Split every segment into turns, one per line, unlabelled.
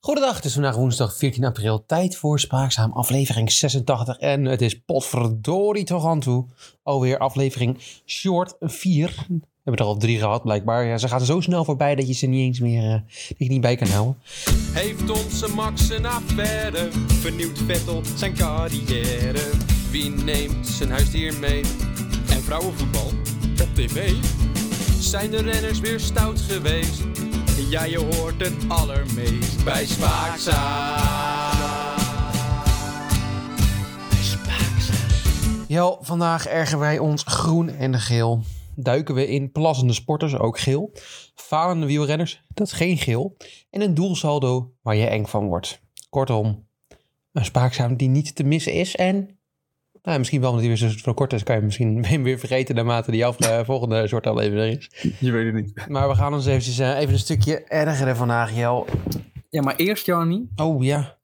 Goedendag, het is vandaag woensdag 14 april. Tijd voor Spaakzaam, aflevering 86. En het is potverdorie toch aan toe. Alweer aflevering short 4. We hebben er al drie gehad blijkbaar. Ja, ze gaan zo snel voorbij dat je ze niet eens meer eh, dat je niet bij kan houden.
Heeft onze Max een affaire? Vernieuwt Vettel zijn carrière? Wie neemt zijn huisdier mee? En vrouwenvoetbal op tv? Zijn de renners weer stout geweest? Ja, je hoort het allermeest bij Spaakzaam.
Jel, vandaag ergen wij ons groen en geel. Duiken we in plassende sporters, ook geel. Falende wielrenners, dat is geen geel. En een doelsaldo waar je eng van wordt. Kortom, een spaakzaam die niet te missen is. En nou, misschien wel omdat hij weer zo- zo kort is, kan je misschien hem weer vergeten naarmate die af, eh, volgende soort aflevering is.
Je weet het niet.
Maar we gaan ons eventjes, eh, even een stukje ergeren vandaag, Jel.
Ja, maar eerst, Jarny,
Oh ja.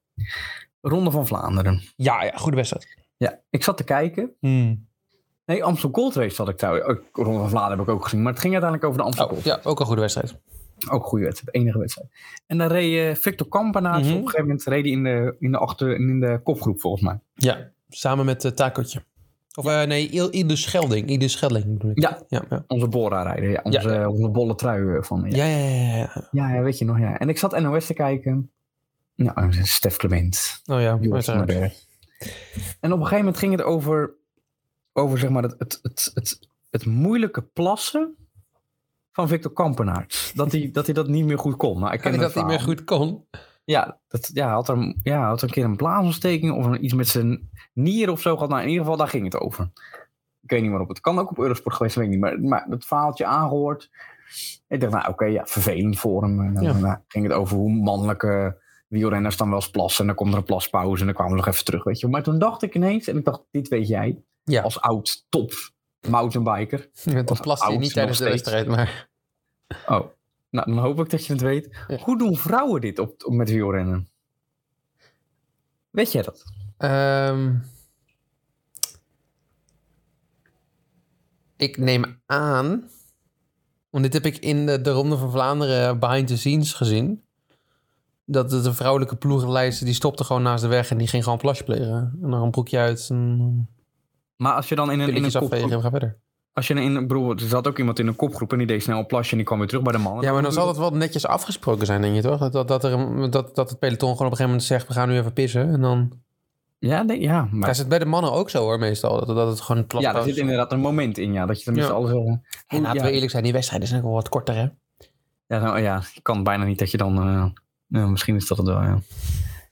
Ronde van Vlaanderen.
Ja, ja, goede wedstrijd.
Ja, ik zat te kijken.
Hmm.
Nee, Amstel Gold Race zat ik trouwens. ook- Ronde van Vlaanderen heb ik ook gezien. Maar het ging uiteindelijk over de Amstel
Oh
Gold.
ja, ook een goede wedstrijd.
Ook een goede wedstrijd. Enige wedstrijd. En daar reed eh, Victor Kampenaars.
Mhm.
Op een gegeven moment reed hij in de, in de, achter, in de kopgroep, volgens mij.
Ja, samen met uh, Takotje. Of eh, nee, Il- Ilde Schelding. Ilde Schelding bedoel ik.
Ja,
Ja, ja.
onze Bora-rijder. Ja, onze, onze bolle trui eh, van. Ja.
Ja, ja, ja, ja, ja.
Ja. ja, weet je nog. Ja. En ik zat NOS te kijken. Nou, Stef Clement.
Oh ja,
Joris van
uiteraard.
den Berg. En op een gegeven moment ging het over, over zeg maar het, het, het, het, het moeilijke plassen van Victor Kampenaerts. Dat hij, dat hij dat niet meer goed kon. Nou, ik
Ik denk
ken
dat
het
hij meer
verhaal.
goed kon.
Ja, dat, ja, hij had er, ja, hij had een keer een blaasontsteking of een- iets met zijn nier of zo gehad. Nou, in ieder geval, daar ging het over. Ik weet niet waarop. Het kan ook op Eurosport geweest, zijn, weet ik niet. Maar, maar dat verhaaltje aangehoord. Ik dacht, nou oké, ja, vervelend voor hem. En dan
Ja.
daarna ging het over hoe mannelijke wielrenners dan wel eens plassen. En dan komt er een plaspauze en dan kwamen we nog even terug, weet je. Maar toen dacht ik ineens, en ik dacht, dit weet jij.
Ja.
Als oud top mountainbiker.
Dat
Of
plast hij
oud
niet
nog
tijdens de
steeds.
wedstrijd, maar...
Oh, nou dan hoop ik dat je het weet.
Ja.
Hoe doen vrouwen dit op, op met wielrennen? Weet jij dat?
Ehm, ik neem aan... Want dit heb ik in de, de Ronde van Vlaanderen behind the scenes gezien. Dat de, de vrouwelijke ploegenlijst, die stopte gewoon naast de weg... en die ging gewoon plasje plegen. En dan een broekje uit en
Maar als je dan in een, in een
pilletjes afvegen
kopgroep...
en ga verder.
Als je in een, ik bedoel, er zat ook iemand in een kopgroep en die deed snel een plasje en die kwam weer terug bij de mannen.
Ja, maar dan zal dat wel netjes afgesproken zijn, denk je toch? Dat, dat, dat, er, een- dat, dat het peloton gewoon op een gegeven moment zegt: we gaan nu even pissen. En dan.
Ja, nee, ja maar...
Daar zit bij de mannen ook zo hoor, meestal. Dat, dat het gewoon plat
ja, daar
was.
zit inderdaad een moment in, ja. Dat je tenminste
Ja.
alles wel...
En laten
ja,
we eerlijk zijn, die wedstrijden zijn ook wel wat korter, hè?
ja, nou, ja, je kan bijna niet dat je dan... eh, nou, misschien is dat het wel, ja.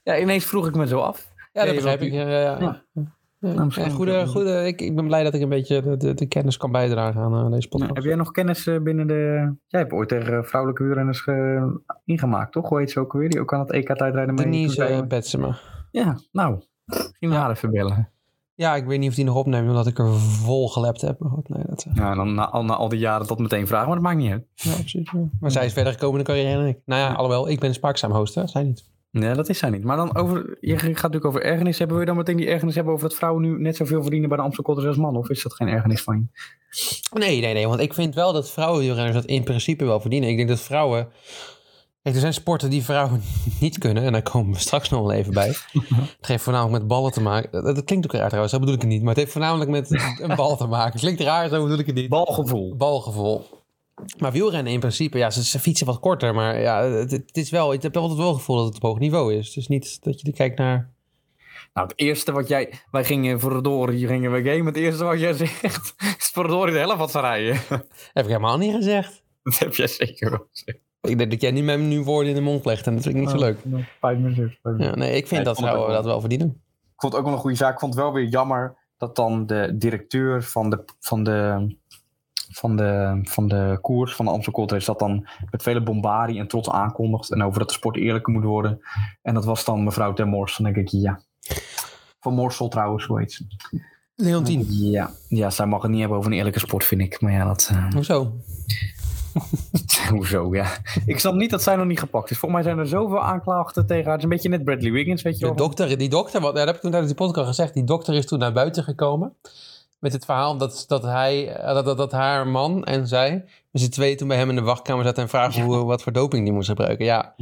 Ja, ineens vroeg ik me zo af.
Ja, dat
Nee,
begrijp
want
ik.
die-
Ja, ja, ja.
Ja.
Ja.
Nou, misschien-
Ja, goede, goede, ik, ik ben blij dat ik een beetje de, de, de kennis kan bijdragen aan eh, deze podcast.
Heb jij nog kennis eh, binnen de... Jij hebt ooit tegen eh, vrouwelijke wielrenners ge- ingemaakt, toch? Hoe heet ze ook weer? Die ook aan het EK-tijdrijden mee...
Denise
toen zei-
eh, Betsema.
Ja, nou. Misschien haar even bellen.
Ja, ik weet niet of die nog opneemt, omdat ik er vol gelept heb. Maar goed, nee, dat... eh,
Ja, en dan na, al- na al die jaren dat meteen vragen, maar dat maakt niet uit.
ja, precies, ja. Maar zij is verder gekomen in de carrière dan ik. Nou ja, alhoewel, ik ben een spaakzaam host, hè? Zij niet.
Nee, dat is zij niet. Maar dan over, je gaat natuurlijk over ergernis hebben. Wil je dan meteen die ergernis hebben over dat vrouwen nu net zoveel verdienen bij de Amstel Gold Race als mannen? Of is dat geen ergernis van je?
Nee, nee, nee. Want ik vind wel dat vrouwenwielrenners dat in principe wel verdienen. Ik denk dat vrouwen... Kijk, er zijn sporten die vrouwen niet kunnen. En daar komen we straks nog wel even bij. Het heeft voornamelijk met ballen te maken. Dat, dat klinkt ook raar trouwens, dat bedoel ik het niet. Maar het heeft voornamelijk met een bal te maken. Het klinkt raar, zo bedoel ik het niet.
Balgevoel.
Balgevoel. Maar wielrennen in principe, ja, ze, ze fietsen wat korter. Maar ja, het, het is wel, ik heb altijd wel het gevoel dat het op hoog niveau is. Dus niet dat je er kijkt naar...
Nou, het eerste wat jij... Wij gingen verdorie, gingen we game. Het eerste wat jij zegt is verdorie de helft wat ze rijden.
Dat heb ik helemaal niet gezegd.
Dat heb jij zeker wel.
Ik denk dat jij niet met nu woorden in de mond legt. En dat vind ik niet zo leuk.
Vijf minuten.
Ja, nee, ik vind
Nee,
dat
Oh. ik vond het ook
vrouwen
wel.
dat wel verdienen.
Ik vond het ook wel een goede zaak. Ik vond het wel weer jammer dat dan de directeur van de, van de, van de, van de koers van de Amstel Gold Race dat dan met vele bombarie en trots aankondigt. En over dat de sport eerlijker moet worden. En dat was dan mevrouw Ter Mors. Dan denk ik, ja. Van Morsel trouwens, hoe heet ze?
Leontien.
Ja. ja, zij mag het niet hebben over een eerlijke sport, vind ik. Maar ja, dat... eh,
Hoezo?
hoezo, ja. Ik snap niet dat zij nog niet gepakt is. Volgens mij zijn er zoveel aanklachten tegen haar. Het is een beetje net Bradley Wiggins, weet je
De
wel.
dokter, die dokter, wat, dat heb ik toen tijdens die podcast gezegd. Die dokter is toen naar buiten gekomen. Met het verhaal dat, dat, hij, eh, dat, dat, dat haar man en zij. met z'n tweeën toen bij hem in de wachtkamer zaten. en vragen hoe, wat voor doping die moest gebruiken. Ja.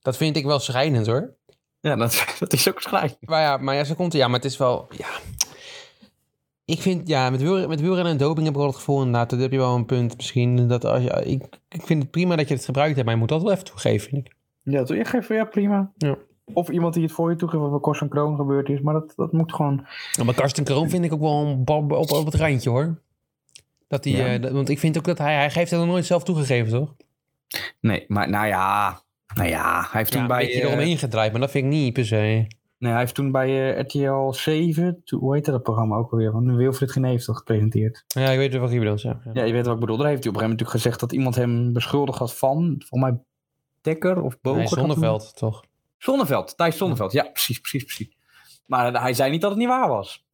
Dat vind ik wel schrijnend hoor.
Ja, dat, dat is ook schrijf.
Maar ja, maar ja, zo komt het. Ja, maar het is wel... Ja. Ik vind, ja, met, wiel, met wielrennen en doping heb ik wel het gevoel inderdaad, dat heb je wel een punt misschien. Dat als je, ik, ik vind het prima dat je het gebruikt hebt, maar je moet dat wel even toegeven, vind ik.
Ja, toch? Ja, geef, ja prima.
Ja.
Of iemand die het voor je toegeeft, wat bij Korsen Kroon gebeurd is. Maar dat, dat moet gewoon...
Nou, maar Karsten Kroon vind ik ook wel een bal op, op het randje hoor. Dat hij,
Ja.
eh, dat- want ik vind ook dat hij, hij geeft het nog nooit zelf toegegeven, toch?
Nee, maar nou ja... Nou ja, hij heeft
Ja,
toen
een
bij...
beetje
eh,
eromheen gedraaid, maar dat vind ik niet per se.
nee, hij heeft toen bij eh, RTL 7... toen- hoe heette dat programma ook alweer? Van Wilfried Geneef dat gepresenteerd.
Ja, ik weet wel wat je bedoelt, ja. Ja.
Ja, je weet wat ik bedoel. Daar heeft hij op een gegeven moment natuurlijk gezegd dat iemand hem beschuldigd had van... Volgens mij Dekker of Boger.
Nee,
dat toen-
Zonneveld, toch?
Zonneveld, Thijs Zonneveld. Ja, precies, precies, precies. Maar eh, hij zei niet dat het niet waar was.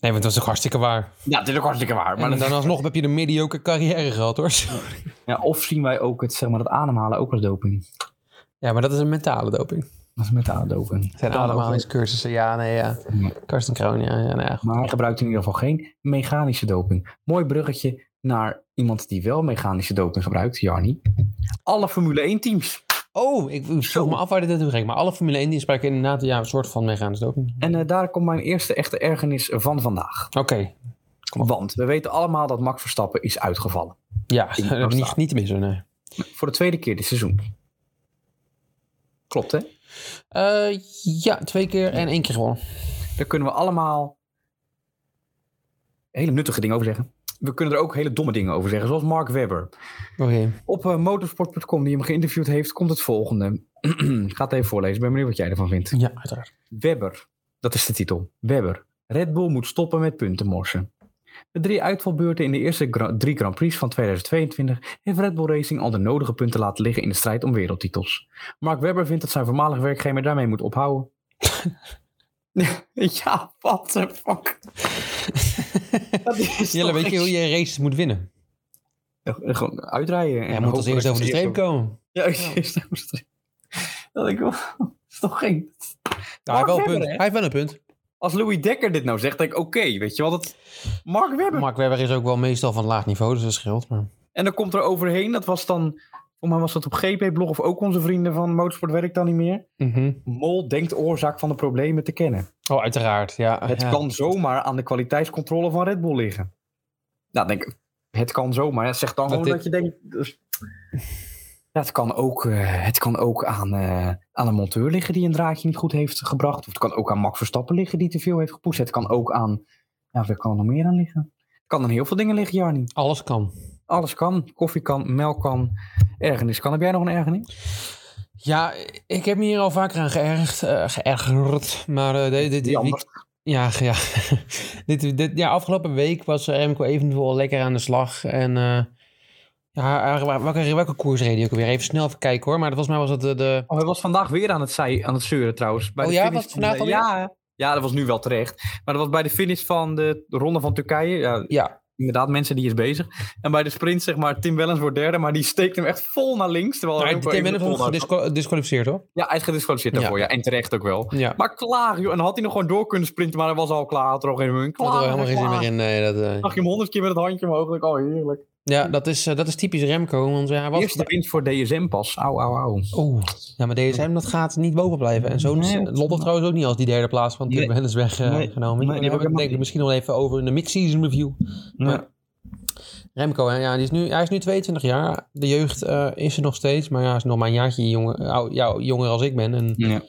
Nee, want dat is ook hartstikke waar.
Ja, het is ook hartstikke waar. Maar
Maar en
dat-
dan alsnog heb je een mediocre carrière gehad, hoor.
ja, of zien wij ook het, zeg maar, dat ademhalen ook als doping.
Ja, maar dat is een mentale doping.
Dat is met de doping.
Zijn
Mentale
ademhalingscursussen, ja, nee, ja.
Ja.
Karsten Kroon, ja, ja, nou ja. goed.
Maar hij gebruikt in ieder geval geen mechanische doping. Mooi bruggetje naar iemand die wel mechanische doping gebruikt, Jarni. Alle Formule 1 teams.
Oh, ik ik vroeg me af waar dit naartoe ging. Maar alle Formule 1 die spraken inderdaad ja, een soort van mechanische doping.
En eh, daar komt mijn eerste echte ergernis van vandaag.
Oké, Kom op.
Want we weten allemaal dat Max Verstappen is uitgevallen.
ja, dat
Ik
is niet,
verstaan.
niet te missen, nee.
Voor de tweede keer dit seizoen. Klopt hè?
Eh, ja, twee keer en één keer gewonnen.
Daar kunnen we allemaal hele nuttige dingen over zeggen. We kunnen er ook hele domme dingen over zeggen, zoals Mark Webber.
Oké.
Op eh, motorsport.com, die hem geïnterviewd heeft, komt het volgende. Ik ga het even voorlezen. Ik ben benieuwd wat jij ervan vindt.
Ja, uiteraard.
Webber, dat is de titel. Webber, Red Bull moet stoppen met punten morsen. Met drie uitvalbeurten in de eerste gra- drie Grand Prix van 2022 heeft Red Bull Racing al de nodige punten laten liggen in de strijd om wereldtitels. Mark Webber vindt dat zijn voormalige werkgever daarmee moet ophouden. ja, what the fuck. dat is
Jelle,
toch
weet je hoe je races moet winnen?
echt- Gewoon uitrijden. en
Hij moet als
hopelijk
eerste over de streep komen.
Ja, als eerste over de streep. Dat ik wel. Dat is toch geen
Nou, hij, heeft wel een
Webber,
punt.
hè?
hij heeft wel een punt.
Als Louis Dekker dit nou zegt, denk ik oké, weet je wel. Dat... Mark Webber.
Mark Webber is ook wel meestal van laag niveau, dus dat scheelt. Maar...
En dan komt er overheen, dat was dan... Voor mij was dat op GP-blog of ook onze vrienden van Motorsport werkt dan niet meer. Mol denkt oorzaak van de problemen te kennen.
Mhm. Oh, uiteraard, ja.
Het
ja.
kan zomaar aan de kwaliteitscontrole van Red Bull liggen. Nou, denk ik, het kan zomaar. Ja, Zeg dan
Dat
gewoon
dit-
dat je denkt... dus- Ja, het kan ook, eh, het kan ook aan, eh, aan een monteur liggen die een draadje niet goed heeft gebracht. Of het kan ook aan Max Verstappen liggen die te veel heeft gepoest. Het kan ook aan... Ja, waar kan er nog meer aan liggen? Het kan aan heel veel dingen liggen, Jarni.
Alles kan.
Alles kan. Koffie kan, melk kan, ergernis kan. Heb jij nog een ergernis?
Ja, ik heb me hier al vaker aan geërgerd, eh, geërgerd maar eh, dit, dit, dit
Jammer.
week- ja, ja. dit, dit, ja, afgelopen week was eh, Remco eventueel lekker aan de slag. En eh, ja, eh, welke, welke koers reed hij ook weer? Even snel even kijken hoor, maar volgens mij was het de... de
Oh, hij was vandaag weer aan het, zei, aan het zeuren trouwens. Bij
Oh
de
ja,
finish
was het
van
vandaag
de- ja, ja, dat was nu wel terecht. Maar dat was bij de finish van de ronde van Turkije. Ja,
ja,
inderdaad, mensen die is bezig. En bij de sprint, zeg maar, Tim Wellens wordt derde. Maar die steekt hem echt vol naar links. Terwijl
nou,
Remco
Tim
even de
Wellens
pol
wordt
houdt.
gedisqual- disqualificeerd hoor.
Ja, hij is gedisqualificeerd
Ja.
daarvoor. Ja. En terecht ook wel.
Ja,
Maar klaar, joh. En dan had hij nog gewoon door kunnen sprinten. Maar hij was al klaar. Had er al geen munt.
dat
Klaar.
had er helemaal geen zin meer in. Nee, dat, eh,
Zag je hem honderd keer met het handje omhoog. Dacht ik, Oh, heerlijk.
ja, dat is, eh, dat is typisch Remco, want ja, hij was...
Eerste winst voor DSM pas. Au, au, au.
Oeh, ja, maar DSM dat gaat niet boven blijven. En zo
Nee.
Lotte trouwens ook niet als die derde plaats van Tim
Nee.
Wellens
Nee.
weggenomen.
Nee, die
Nee,
heb
nee,
ik
hebben we het
helemaal
denk ik
niet.
misschien nog even over in de mid-season review.
Ja.
Remco, hè, ja, die is nu, hij is nu 22 jaar. De jeugd eh, is er nog steeds, maar ja, hij is nog maar een jaartje jonger, ou- ja, jonger als ik ben. En
Ja.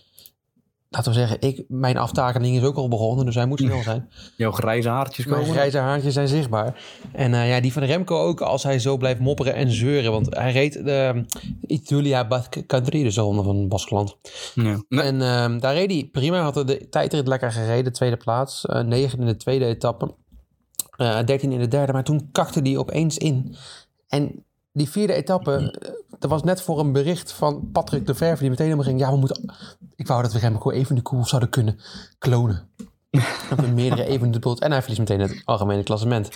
laten we zeggen, ik, mijn aftakeling is ook al begonnen, dus hij moet snel zijn.
Jouw grijze haartjes
Mijn
komen.
grijze haartjes zijn zichtbaar. En eh, ja, die van Remco ook, als hij zo blijft mopperen en zeuren. Want hij reed de Itulia Basque Country, dus de ronde van Baskeland.
Ja. Nee,
En ehm, daar reed hij prima. Had de tijdrit lekker gereden. Tweede plaats. eh negen in de tweede etappe. eh dertien in de derde. Maar toen kakte hij opeens in. En die vierde etappe. eh, dat was net voor een bericht van Patrick de Verve. Die meteen helemaal ging. Ja, we moeten... Ik wou dat we Remco even de koel zouden kunnen klonen. Dat we meerdere even de boot. En hij verliest meteen het algemene klassement.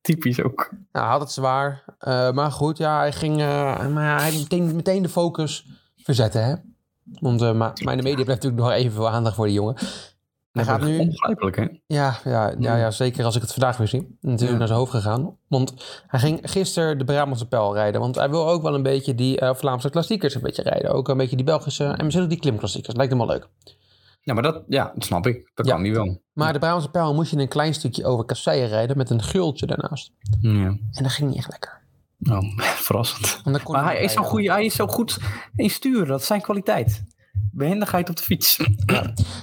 typisch ook.
Nou, hij had het zwaar. Eh, maar goed, ja, hij ging. eh, maar ja, hij meteen, meteen de focus verzetten, hè? Want eh, maar, maar in de media blijft natuurlijk nog even veel aandacht voor die jongen. Hij gaat nu
Onbegrijpelijk, hè?
Ja, ja, ja,
Hmm.
ja, zeker als ik het vandaag weer zie. Het is
Ja.
ook naar zijn hoofd gegaan. Want hij ging gisteren de Brabantse pijl rijden. Want hij wil ook wel een beetje die eh, Vlaamse klassiekers een beetje rijden. Ook een beetje die Belgische en misschien ook die klimklassiekers. Lijkt hem wel leuk.
Ja, maar dat, ja, dat snap ik. Dat
Ja.
kan die wel.
Maar de Brabantse pijl moest je een klein stukje over kasseien rijden met een gultje daarnaast.
Ja.
En dat ging niet echt lekker.
Nou, verrassend.
Want dan kon
Maar
niet
hij is, zo
rijden.
goed, hij is zo goed in sturen. Dat is zijn kwaliteit. Behendigheid op de fiets.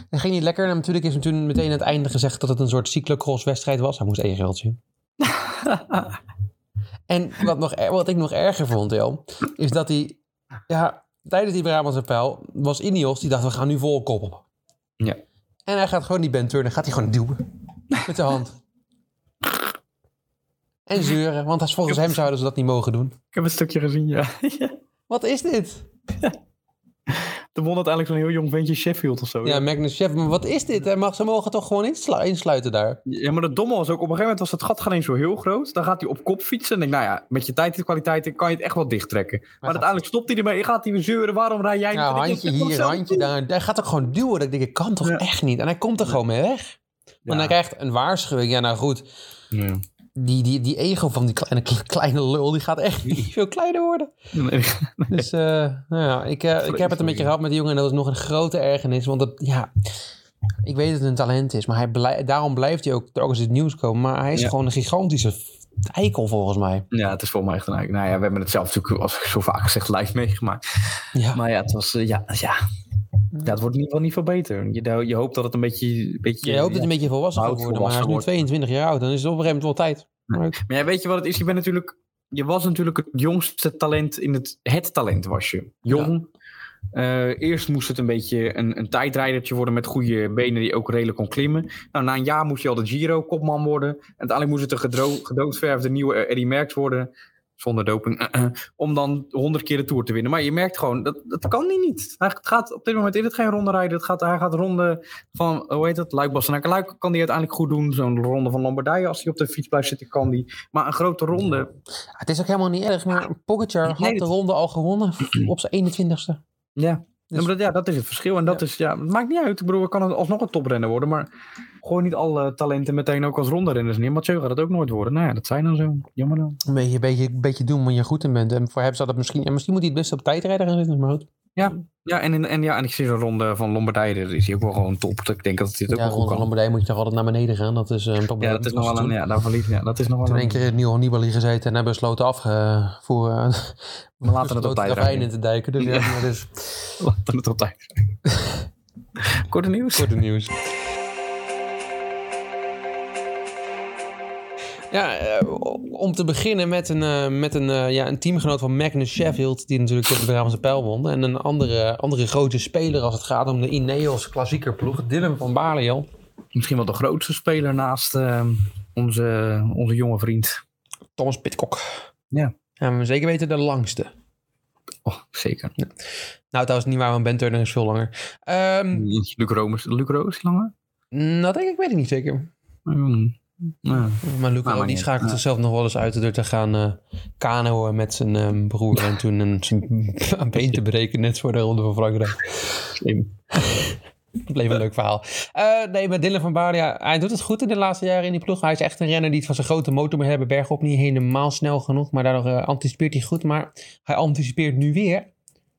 Dat ging niet lekker. En natuurlijk is hem toen meteen aan het einde gezegd dat het een soort cyclocross-wedstrijd was. Hij moest één gultje. En wat, nog, er- wat ik nog erger vond, joh, is dat hij... Ja, tijdens die Brabantse pijl was Ineos, die dacht, we gaan nu vol kop op.
Ja.
En hij gaat gewoon die Ben Turner, gaat hij gewoon duwen. Met de hand. En zeuren, want als volgens hem zouden ze dat niet mogen doen.
Ik heb een stukje gezien, ja.
Wat is dit?
De won uiteindelijk zo'n heel jong ventje Sheffield of zo.
Ja, Magnus Chef, maar wat is dit? Hij mag, ze mogen toch gewoon inslu- insluiten daar?
Ja, maar dat domme was ook, op een gegeven moment was het gat geen zo heel groot. Dan gaat hij op kop fietsen en denk nou ja, met je tijd en kwaliteiten kan je het echt wel dicht trekken. Maar,
gaat-
uiteindelijk stopt hij ermee en gaat hij weer zeuren, waarom rij jij
Ja,
En ik denk,
handje
ik heb
hier,
nog zo-
handje daar. Hij gaat ook gewoon duwen. Dat ik denk, ik kan toch
Ja.
echt niet. En hij komt er gewoon mee weg. Want hij krijgt een waarschuwing. Ja, nou goed.
Ja.
Die, die, die ego van die kleine, kleine lul, die gaat echt niet veel kleiner worden.
Nee.
Dus eh, nou ja, ik, eh, ik heb het een beetje gehad met die jongen. En dat is nog een grote ergernis. Want dat, ja, ik weet dat het een talent is. Maar hij blij, daarom blijft hij ook, ook als het nieuws komen. Maar hij is
Ja.
gewoon een gigantische eikel volgens mij.
Ja, het is volgens mij echt een eigen- Nou ja, we hebben het zelf natuurlijk, als ik zo vaak gezegd, live meegemaakt.
Ja.
Maar ja, het was, eh, ja, ja. ja, het wordt in ieder geval niet veel beter. Je, je hoopt dat het een beetje... een beetje
Je hoopt dat
ja.
hij een beetje volwassen
Oud
wordt worden. Maar hij is nu
volwassen
22 jaar oud. Dan is het op een gegeven moment wel tijd. Maar ik-
Maar ja, weet je wat het is? Je bent natuurlijk... Je was natuurlijk het jongste talent in het... Het talent was je. Jong. Eh, eerst moest het een beetje een, een tijdrijdertje worden met goede benen die ook redelijk kon klimmen. Nou, na een jaar moest je al de Giro-kopman worden. En uiteindelijk moest het een gedro- gedoodverfde nieuwe eh, Eddy Merckx worden. Zonder doping. eh, om dan honderd keer de Tour te winnen. Maar je merkt gewoon, dat, dat kan hij niet. Hij gaat op dit moment is het geen ronde rijden. Het gaat, hij gaat ronde van, hoe heet dat? Luik, Bastenaken, Luik kan hij uiteindelijk goed doen. Zo'n ronde van Lombardije, als hij op de fiets blijft zitten, kan die. Maar een grote ronde,
Het is ook helemaal niet erg,
Ah,
maar Pogacar had
Nee,
de
dat-
ronde al gewonnen op zijn 21ste.
ja.
Dus-
maar dat, ja, dat is het verschil. En dat
Ja.
is, ja, het maakt niet uit. Ik bedoel, het kan een- alsnog een toprenner worden. Maar gooi niet alle talenten meteen ook als ronde renners neer. Mathieu gaat het ook nooit worden. Nou ja, dat zijn dan zo. Jammer dan.
Een beetje, beetje, beetje doen wanneer je goed in bent. En voor hem zou dat misschien... Ja, misschien moet hij het beste op tijdrijder gaan zitten, maar goed.
Ja, en, en, en ja, en ik zie zo'n ronde van Lombardije. Dat is hij ook wel gewoon top. Ik denk dat dit ook
Ja,
wel goed
rond de
kan.
Lombardij moet je toch altijd naar beneden gaan. Dat is eh, een probleem.
Ja, dat is nog wel een.
Toen-
Ja, daarvan lief. Ja, dat is nog wel
Toen
een.
één keer in Nieuw Nibali gezeten en hebben besloten eh, afgevoeren.
we laten het op tijd
ravijn
rijden.
in te duiken. Dus ja,
Ja.
maar dus...
We Laten het op tijd rijden. Korte nieuws.
Korte nieuws. Ja, eh, om te beginnen met een, eh, met een, eh, ja, een teamgenoot van Magnus Sheffield, die natuurlijk de Brabantse pijl won. En een andere, andere grote speler als het gaat om de Ineos klassiekerploeg, Dylan van Barleel.
Misschien wel de grootste speler naast eh, onze, onze jonge vriend.
Thomas Pitcock.
Ja.
En we zeker weten de langste.
Oh, zeker.
Nou, trouwens niet waar, want Ben Turner is veel langer. Ehm,
Luc Roos. Luc Roos langer?
Nou, denk ik, weet ik niet zeker.
Hmm. Ja.
Maar Luca
Nou, Maar maar
die
niet.
schakelt
Ja.
zichzelf nog wel eens uit door te gaan eh kanoën met zijn eh, broer. En toen een, zijn been te breken net voor de Ronde van Frankrijk.
Slim.
Dat bleef een leuk verhaal. Eh, nee, maar Dylan van Baarle, ja, hij doet het goed in de laatste jaren in die ploeg. Hij is echt een renner die het van zijn grote motor moet hebben. Bergop niet helemaal snel genoeg, maar daardoor eh, anticipeert hij goed. Maar hij anticipeert nu weer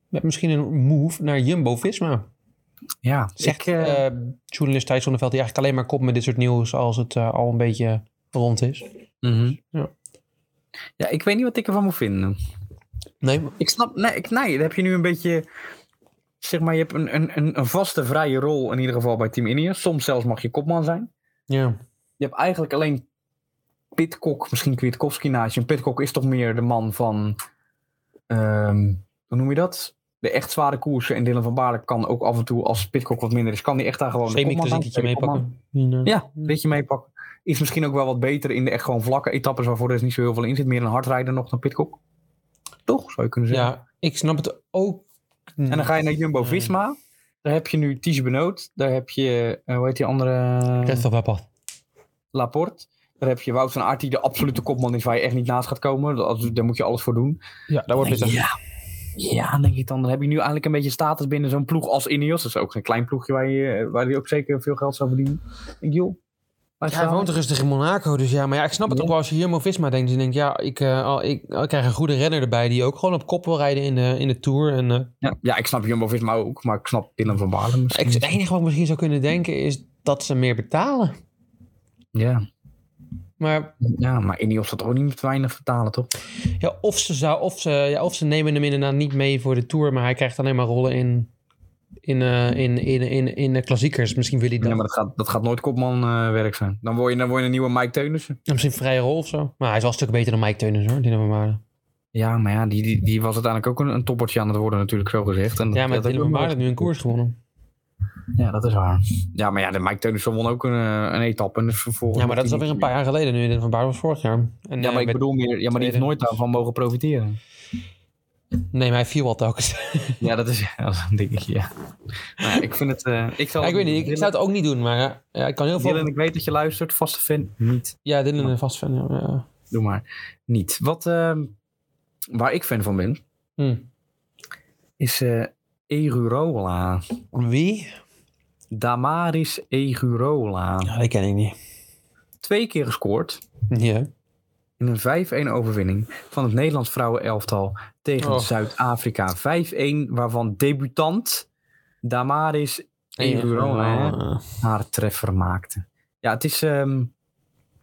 met misschien een move naar Jumbo-Visma.
Ja,
Zegt
ik, eh,
eh, journalist Thijs Zonneveld, die eigenlijk alleen maar komt met dit soort nieuws als het eh, al een beetje rond is.
mhm.
ja.
ja, ik weet niet wat ik ervan moet vinden.
Nee,
Ik snap, nee, ik, nee, dan heb je nu een beetje. Zeg maar, je hebt een, een, een, een vaste vrije rol in ieder geval bij Team Ineos. Soms zelfs mag je kopman zijn.
ja.
Je hebt eigenlijk alleen Pitcock, misschien Kwiatkowski naast je. En Pitcock is toch meer de man van. ehm, hoe noem je dat? De echt zware koersen. En Dylan van Baarle kan ook af en toe, als Pitcock wat minder is, kan die echt daar gewoon. de kopman zijn,
Semi-klassieketje
tweede kopman.
meepakken. Ja.
Ja, een beetje meepakken. Is misschien ook wel wat beter in de echt gewoon vlakke etappes waarvoor er dus niet zo heel veel in zit. Meer een hardrijder nog dan Pitcock. Toch, zou je kunnen zeggen.
Ja, ik snap het ook.
En dan ga je naar Jumbo
Nee.
Visma. Daar heb je nu Ties Benoot. Daar heb je, eh, hoe heet die andere?
Christophe Laporte.
Laporte. Daar heb je Wout van Aert, die de absolute kopman is waar je echt niet naast gaat komen. Dat- Daar moet je alles voor doen.
Ja, daar wordt het.
ja. Ja, denk ik dan. Dan heb je nu eigenlijk een beetje status binnen zo'n ploeg als Ineos. Dat is ook geen klein ploegje waar je, eh, waar je ook zeker veel geld zou verdienen. Ik denk, joh. waar
Hij
staan we?
woont rustig in Monaco, dus ja. Maar ja, ik snap het
Ja.
ook wel als je hier Movisma denkt. Je denkt, ja, ik, eh, al- ik, ik krijg een goede renner erbij die ook gewoon op kop wil rijden in de, in de Tour. En, eh,
Ja, ja, ik snap Jumbo-Visma ook, maar ik snap Dylan van Baarle misschien.
ik, het enige wat ik misschien zou kunnen denken is dat ze meer betalen.
Ja.
Maar
ja, maar Ineos had ook niet met weinig vertalen, toch?
ja, of, ze zou, of, ze, ja, of ze nemen hem inderdaad niet mee voor de Tour, maar hij krijgt alleen maar rollen in, in, eh, in, in, in, in de klassiekers. Misschien wil hij
Ja,
dan
maar dat gaat, dat gaat nooit kopmanwerk werk zijn. Dan word, je, dan word je een nieuwe Mike Teunissen.
misschien een vrije rol of zo. Maar hij is wel een stuk beter dan Mike Teunissen hoor, Dylan van Baarle.
Ja, maar ja, die, die, die was uiteindelijk ook een, een toppertje aan het worden natuurlijk, zo gezegd. En dat-
Ja, maar
dat heb
Dylan
ik
van
ook
Baarle heeft nu een koers gewonnen.
Ja, dat is waar. Ja, maar ja, de Mike Teunissen won ook een, eh, een etappe. En dus vervolgens
Ja, maar dat is alweer een paar jaar geleden nu. Dylan van Baarle was vorig jaar. En,
Ja,
eh,
maar ik
met-
bedoel meer, ja, maar die heeft nooit daarvan mogen profiteren.
Nee, maar hij viel wel telkens.
Ja, dat is, ja, dat is een dingetje, ja. Maar ja, ik vind het... eh, ik, zal
Ja, ik weet niet, ik, ik zou het ook niet doen, maar eh, ja, ik kan heel veel...
Dylan, ik weet dat je luistert, vaste fan, niet.
Ja, Dylan is vast fan. Ja, eh, ja.
Doe maar. Niet. Wat, eh, waar ik fan van ben,
Hm.
is eh Erurola.
Wie?
Damaris Egurola.
Ja, die ken ik niet.
Twee keer gescoord
Ja.
in een 5-1 overwinning van het Nederlands vrouwenelftal tegen
Oh.
Zuid-Afrika. 5-1, waarvan debutant Damaris Egurola
Ja.
haar treffer maakte. Ja, het is ehm,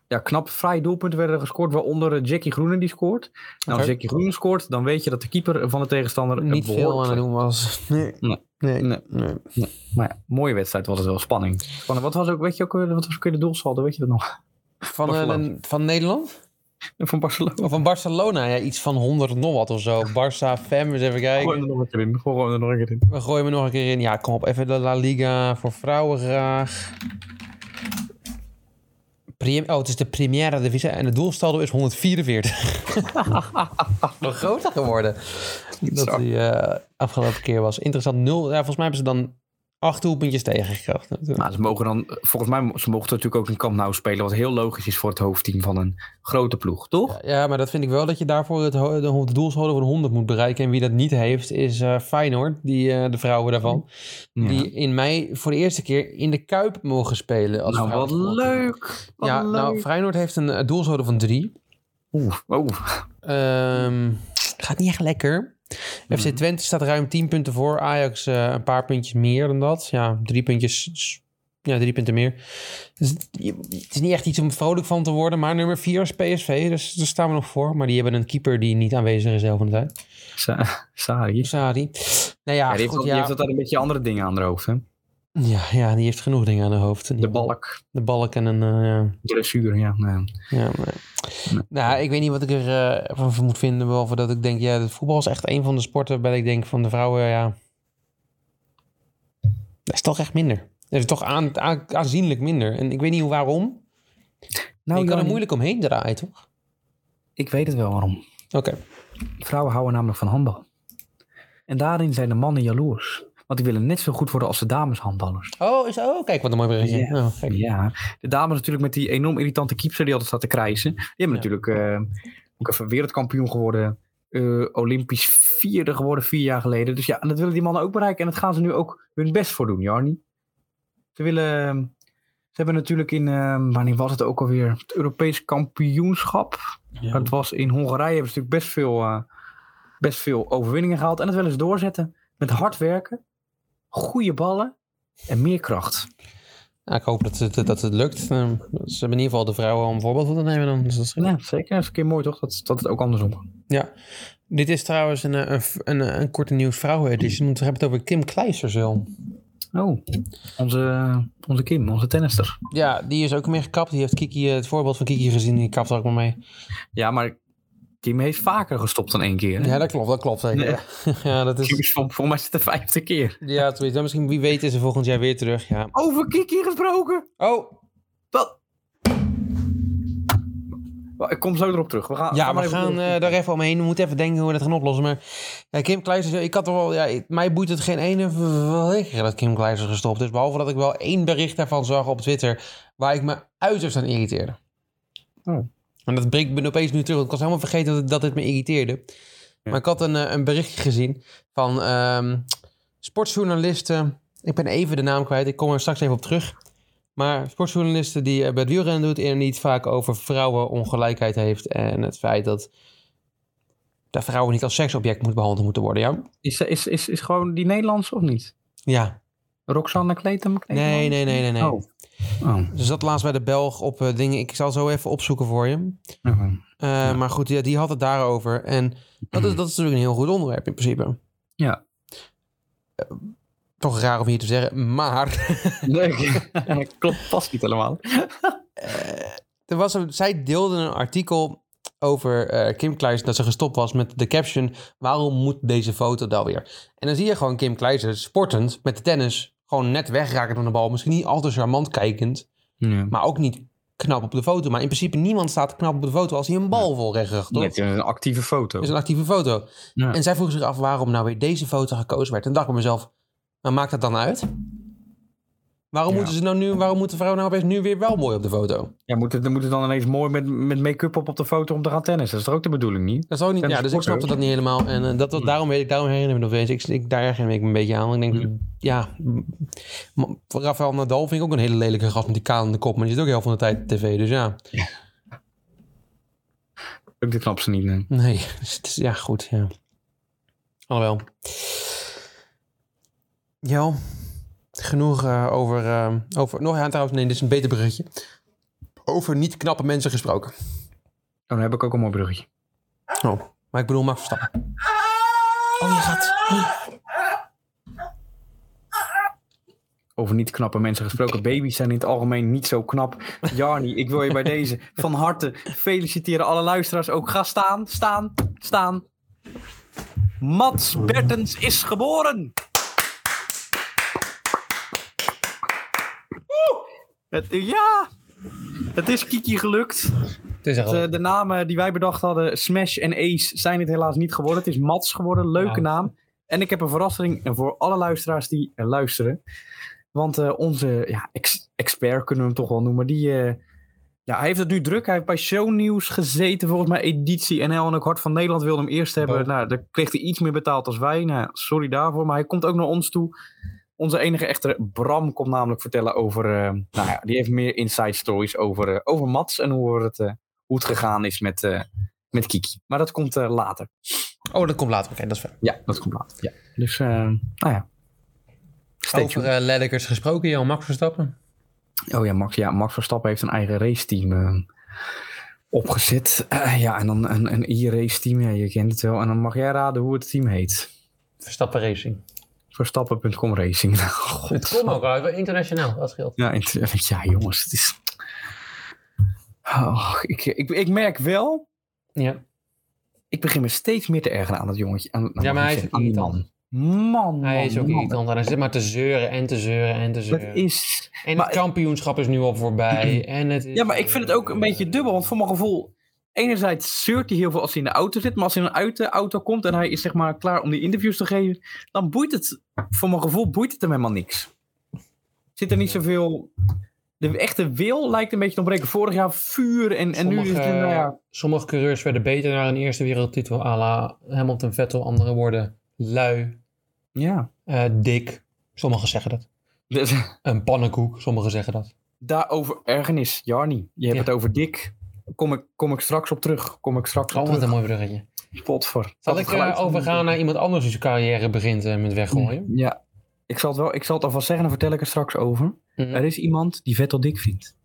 ja, knap. Vrij doelpunten werden er gescoord, waaronder eh, Jackie Groenen die scoort. Nou, als
Oké.
Jackie Groenen scoort, dan weet je dat de keeper van de tegenstander een
Niet veel aan
behoorlijk
het doen was. Nee.
Nee.
Nee.
Nee.
nee.
Maar ja, mooie wedstrijd was het wel. Spanning. Spanning. Wat was ook, weet je ook, eh, wat was ook weer de doelsaldo? Weet je dat nog?
Van, eh,
Barcelona.
van Nederland?
Van Barcelona.
Of van Barcelona? Ja, iets van 100 nog wat of zo. Barça, Fem, eens even
Gooi
kijken.
hem er nog een keer in. Gooi hem er nog een keer in.
We gooien me nog een keer in. Ja, kom op. Even de La Liga voor vrouwen graag. Prim- oh, het is de Primera Divisie en de doelstaldo is 144. Nog groter geworden. Dat
Zo.
die eh, afgelopen keer was. Interessant. Nul. Ja, volgens mij hebben ze dan acht doelpuntjes tegengekregen.
Nou, ze mogen dan, eh, volgens mij, mo- ze mochten natuurlijk ook in Camp Nou spelen. Wat heel logisch is voor het hoofdteam van een grote ploeg, toch?
Nou, Ja, maar dat vind ik wel dat je daarvoor het, ho- de, de doelstaldo van 100 moet bereiken. En wie dat niet heeft, is eh Feyenoord. Die, eh, de vrouwen daarvan.
Ja.
Die in mei voor de eerste keer in de Kuip mogen spelen. Als
nou, wat
vrouwen.
leuk. Wat
ja, nou,
leuk.
Feyenoord heeft een eh, doelsaldo van drie.
Oeh, oeh.
Ehm, gaat niet echt lekker. FC
Mhm.
Twente staat ruim 10 punten voor. Ajax eh, een paar puntjes meer dan dat. Ja, drie puntjes. s- Ja, drie punten meer. Dus het- je- het is niet echt iets om vrolijk van te worden. Maar nummer 4 is PSV. Dus daar staan we nog voor. Maar die hebben een keeper die niet aanwezig is de helft van de tijd.
Sa- Sari. Ja,
Sadi. Nou ja,
die, heeft,
goed,
al- die
ja.
heeft altijd een beetje andere dingen aan haar hoofd. Hè?
ja, ja, die heeft genoeg dingen aan de hoofd.
De balk,
De balk en een... eh, ja.
dressuur, ja. Nou,
Ja, maar... Nou, ik weet niet wat ik er eh, van van moet vinden. Behalve dat ik denk, ja, het voetbal is echt een van de sporten waarbij ik denk van de vrouwen, ja. Dat is toch echt minder. Dat is toch aan, aan- aanzienlijk minder. En ik weet niet hoe waarom.
nou
je kan er
Jannie,
moeilijk omheen draaien, toch?
ik weet het wel waarom.
Oké.
Vrouwen houden namelijk van handbal. En daarin zijn de mannen jaloers. Want die willen net zo goed worden als de dames handballers.
Oh, is, oh, kijk wat een mooi berichtje.
Ja.
Oh, kijk.
Ja, de dames natuurlijk met die enorm irritante keeper die altijd staat te krijsen. Die
Ja.
hebben natuurlijk eh, ook even wereldkampioen geworden. eh, Olympisch vierde geworden vier jaar geleden. Dus ja, en dat willen die mannen ook bereiken. En dat gaan ze nu ook hun best voor doen, Jarni. Ze willen... Ze hebben natuurlijk in, eh, wanneer was het ook alweer, het Europees kampioenschap.
Ja.
Het was in Hongarije hebben ze natuurlijk best veel, eh, best veel overwinningen gehaald. En dat willen ze doorzetten met hard werken, goede ballen en meer kracht.
Nou, ik hoop dat het, dat het lukt. Eh, Ze hebben in ieder geval de vrouwen om een voorbeeld van te nemen. Dan. Dus dat is-
Ja, zeker. Dat is een keer mooi toch, dat, dat het ook andersom kan.
Ja. Dit is trouwens een, eh, een, een, een korte nieuws vrouwen-edition. Want we hebben het over Kim Kleister zo.
Oh, onze, onze Kim, onze tennister.
Ja, die is ook meer gekapt. Die heeft Kiki, eh, het voorbeeld van Kiki gezien. Die kapt er ook maar mee.
Ja, maar Kim heeft vaker gestopt dan één keer. hè?
Ja, dat klopt. Dat klopt zeker. Ja, dat
Kim
is...
is vol- volgens mij is het de vijfde keer.
Ja, zoiets. Nou, misschien, wie weet is ze volgend jaar weer terug. Ja.
Over Kiki gesproken.
Oh,
Wat? Wel, Ik kom zo erop terug. We gaan,
ja,
maar
we
even
gaan
door.
eh, daar even omheen. We moeten even denken hoe we dat gaan oplossen. Maar ja, Kim Kleiser, ik had er wel... Ja, ik- mij boeit het geen ene verrekening dat Kim Kleiser gestopt is. Behalve dat ik wel één bericht daarvan zag op Twitter... waar ik me uiterst aan irriteerde.
Oh.
En dat breekt me opeens nu terug. want Ik was helemaal vergeten dat, dat dit me irriteerde. Maar ik had een, eh, een berichtje gezien van ehm sportjournalisten. Ik ben even de naam kwijt, ik kom er straks even op terug. Maar sportjournalisten die eh, bij het wielrennen doet en die het vaak over vrouwenongelijkheid heeft. En het feit dat de vrouwen niet als seksobject moet behandeld moeten worden. Ja,
Is, is, is, is gewoon die Nederlandse of niet?
ja.
Roxanne Kleetem?
nee, nee, nee, nee. nee.
Oh. Oh.
Ze zat laatst bij de Belg op eh, dingen. Ik zal zo even opzoeken voor je.
oké.
Eh, Maar goed, die, die had het daarover. En dat is, dat is natuurlijk een heel goed onderwerp in principe.
Ja.
Eh, toch raar om hier te zeggen, maar
Leuk. Klopt vast niet helemaal.
eh, er was een, zij deelde een artikel over eh, Kim Kleijers dat ze gestopt was met de caption waarom moet deze foto dan weer? En dan zie je gewoon Kim Kleijers sportend met de tennis gewoon net wegrakend van de bal. Misschien niet al te charmant kijkend,
Ja.
maar ook niet knap op de foto. Maar in principe niemand staat knap op de foto als hij een bal vol recht
Nee, het is een actieve foto.
is een actieve foto.
Ja.
En zij vroeg zich af waarom nou weer deze foto gekozen werd. En dacht ik bij mezelf, maar maakt dat dan uit? Waarom
Ja.
moeten ze nou nu, waarom moeten vrouwen nou opeens nu weer wel mooi op de foto?
Ja, moet het, moet het dan ineens mooi met, met make-up op op de foto om te gaan tennissen? Dat is toch ook de bedoeling niet?
Dat is ook niet,
En
ja, dus ik
sporten.
snapte dat niet helemaal. En eh, dat, dat, daarom, weet ik, daarom herinner ik me nog eens. Ik, ik, daar herinner ik me een beetje aan. Want ik denk, ja, m- Rafael Nadal vind ik ook een hele lelijke gast met die kalende kop. Maar die zit ook heel veel van de tijd op tv, dus ja.
Ook dit knap ze niet. nee. Oh,
Nee, dus het is, ja goed, ja. Alhoewel. Ja, genoeg eh, over, eh, over... Nog ja, trouwens, nee, dit is een beter bruggetje. Over niet knappe mensen gesproken.
Oh, dan heb ik ook een mooi bruggetje.
Oh, maar ik bedoel Max Verstappen. Oh, je gaat...
Over niet knappe mensen gesproken. Baby's zijn in het algemeen niet zo knap. Jarni, ik wil je bij deze van harte feliciteren. Alle luisteraars ook. Ga staan, staan, staan. Mats Bertens is geboren! Woe! Het, ja! Het is Kiki gelukt.
Het is echt
Eh, de namen die wij bedacht hadden, Smash en Ace, zijn het helaas niet geworden. Het is Mats geworden, leuke
Ja.
naam. En ik heb een verrassing voor alle luisteraars die eh, luisteren. Want eh, onze ja, ex- expert, kunnen we hem toch wel noemen, die, eh, ja, hij heeft het nu druk. Hij heeft bij shownieuws gezeten, volgens mij editie NL en ook Hart van Nederland wilde hem eerst hebben.
Oh.
Nou, daar kreeg hij iets meer betaald als wij. Nou, sorry daarvoor, maar hij komt ook naar ons toe. Onze enige echte Bram komt namelijk vertellen over, eh, nou ja, die heeft meer inside stories over, eh, over Mats en hoe het eh, hoe het gegaan is met, eh, met Kiki. Maar dat komt eh, later.
Oh, dat komt later. Oké, dat is ver.
Ja, dat komt later. Ja. Dus, eh, nou ja. Stay
Over eh lelijkers gesproken, joh, Max Verstappen.
tuned. Oh ja Max, ja, Max Verstappen heeft een eigen raceteam eh, opgezet. Eh, ja, en dan een, een e-race team. Ja, je kent het wel. En dan mag jij raden hoe het team heet.
Verstappen Racing.
Verstappen.com Racing. Nou,
Het
God.
komt ook wel internationaal, dat scheelt.
Ja, int- ja, jongens, het is... Oh, ik, ik, ik merk wel...
Ja.
Ik begin me steeds meer te ergeren aan dat jongetje. Aan, aan-
Ja, maar hij is ook
aan die man.
irritant.
Man, man,
Hij is ook
Oh, man.
irritant dus, en hij zit maar te zeuren en te zeuren en te
Dat
zeuren.
is...
En
Maar-
het kampioenschap is nu al voorbij. En het is, eh,
Ja, maar ik vind het ook een beetje dubbel. Want voor mijn gevoel, enerzijds zeurt hij heel veel als hij in de auto zit. Maar als hij dan uit de auto komt en hij is zeg maar klaar om die interviews te geven. Dan boeit het, voor mijn gevoel, boeit het hem helemaal niks. Zit er niet zoveel... De echte wil lijkt een beetje te ontbreken. Vorig jaar vuur en, en nu is het...
Sommige-
Nou ja,
Sommige coureurs werden beter naar een eerste wereldtitel. à la Hamilton Vettel, andere woorden lui,
ja.
eh, dik. Sommigen zeggen dat.
Dus,
Een pannenkoek, sommigen zeggen dat.
daarover ergernis, Jarni. Je hebt
Ja.
het over Dick. Kom ik, kom ik straks op terug. Kom ik straks op
Oh, wat een
terug.
mooi bruggetje.
Potver.
Zal
Dat
ik
het geluid
eh,
van- Mm.
overgaan naar iemand anders die zijn carrière begint eh, met weggooien?
Ja, ik zal het wel, ik zal het alvast zeggen, dan vertel ik er straks over.
Mhm.
Er is iemand die Vettel dik vindt.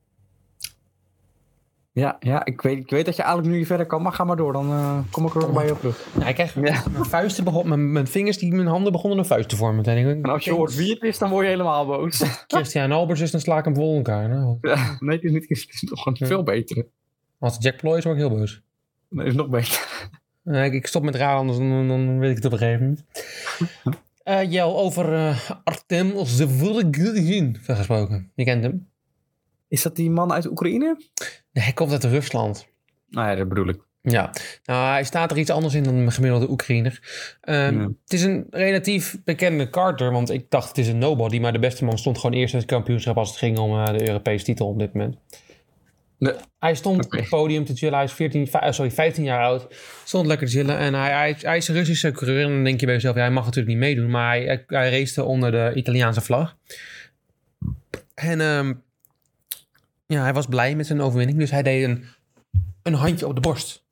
Ja, ja ik, weet, ik weet dat je eigenlijk nu niet verder kan, maar ga maar door. Dan eh, kom ik er ook bij je op terug.
Nou, ik krijg
Ja.
mijn vuisten, begon, mijn, mijn vingers, die, mijn handen begonnen een vuist te vormen. En ik,
En als je hoort wie het is, dan word je helemaal boos.
Christian Albers is, dan sla ik hem vol in elkaar. Nou,
nee, het is niet. Het is nog een veel beter.
als het Jack Ploy is, word ik heel boos.
Nee, het is nog beter.
Nee, ik, ik stop met raar, anders dan, dan weet ik het op een gegeven moment. Eh Jel, over eh Artem Zevulgin gesproken. Je kent hem.
Is dat die man uit Oekraïne?
Nee, hij komt uit Rusland.
Nou ja, dat bedoel ik.
Ja, nou, hij staat er iets anders in dan een gemiddelde Oekraïner. Ehm,
Ja.
Het is een relatief bekende karter, want ik dacht het is een nobody, maar de beste man stond gewoon eerst in het kampioenschap als het ging om eh, de Europese titel op dit moment.
Nee.
Hij stond
Oké.
op het podium te chillen. Hij is 14, fi- eh, sorry, 15 jaar oud. Stond lekker te chillen. En hij, hij, hij is een Russische coureur. En dan denk je bij jezelf, ja, hij mag natuurlijk niet meedoen. Maar hij, hij, hij racete onder de Italiaanse vlag. En ehm, ja, hij was blij met zijn overwinning. Dus hij deed een, een handje op de borst.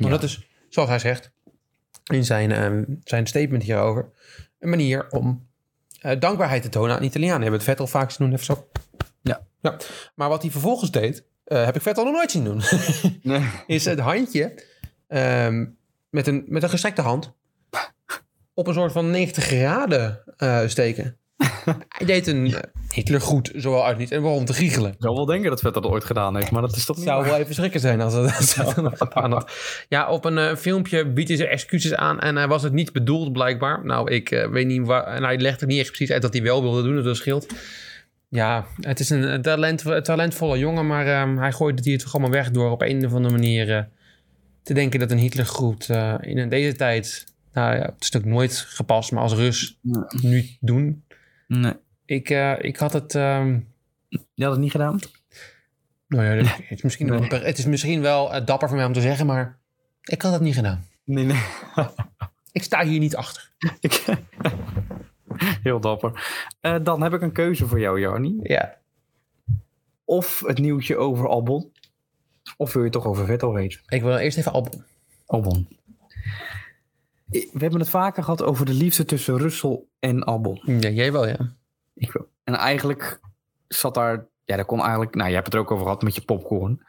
Maar dat is, zoals hij zegt, in zijn, ehm, zijn statement hierover, een manier om eh, dankbaarheid te tonen aan Italianen. Hebben het Vettel vaak zien doen, even zo.
Ja.
ja. Maar wat hij vervolgens deed, eh, heb ik Vettel nog nooit zien doen.
Nee.
is het handje ehm, met, een, met een gestrekte hand op een soort van 90 graden eh, steken. Hij deed een eh, Hitler goed, zowel uit niet en waarom te giechelen.
Ik zou wel denken dat Vettel dat ooit gedaan heeft, maar dat is toch
Het
niet
zou
waar?
wel even schrikken zijn als het als het nog gedaan had. Ja, op een eh, filmpje biedt hij zijn excuses aan en hij was het niet bedoeld blijkbaar. Nou, ik eh, weet niet waar... En hij legt het niet echt precies uit dat hij wel wilde doen, dus dat scheelt. Ja, het is een talent, talentvolle jongen, maar ehm, hij gooit het hier toch allemaal weg door op een of andere manier eh, te denken dat een Hitlergroet eh in deze tijd... Nou ja, het is natuurlijk nooit gepast, maar als Rus
Ja.
nu doen.
Nee.
Ik, eh, ik had het... ehm,
Je had het niet gedaan?
nou ja, dat- het, is misschien wel, het is misschien wel eh, dapper van mij om te zeggen, maar ik had dat niet gedaan.
Nee, nee.
Ik sta hier niet achter.
Ik- Heel dapper. Eh, dan heb ik een keuze voor jou, Jarni.
Ja.
Of het nieuwtje over Albon. Of wil je het toch over Vettel weten?
Ik wil eerst even Albon.
Albon. We hebben het vaker gehad over de liefde tussen Russell en Albon.
Ja, jij wel, ja.
Ik wil- En eigenlijk zat daar... Ja, daar kon eigenlijk... Nou, je hebt het er ook over gehad met je popcorn.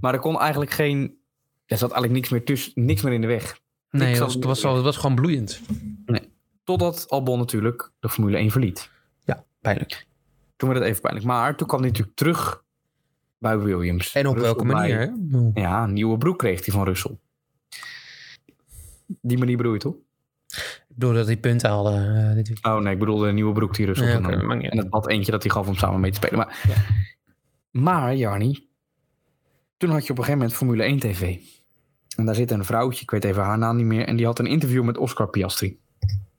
Maar er kon eigenlijk geen... Er zat eigenlijk niks meer tussen, niks meer in de weg.
Nee,
Ik
het
zal-
was, het was, wel- het was gewoon bloeiend.
Totdat Albon natuurlijk de Formule 1 verliet.
Pijnlijk.
Toen werd het even pijnlijk. Maar toen kwam hij natuurlijk terug bij Williams.
En op
Russell
welke
bij-
manier? hè?
Ja, een nieuwe broek kreeg hij van Russell. Die manier bedoel je toch?
Doordat hij punten haalde. eh, dit weekend.
Oh nee, ik bedoel de nieuwe broek die Russell
Nee,
kon
oké,
hebben.
maakt niet
En dat bad eentje dat hij gaf om samen mee te spelen. Maar, maar Jarni, toen had je op een gegeven moment Formule 1 TV. En daar zit een vrouwtje, ik weet even haar naam niet meer. En die had een interview met Oscar Piastri.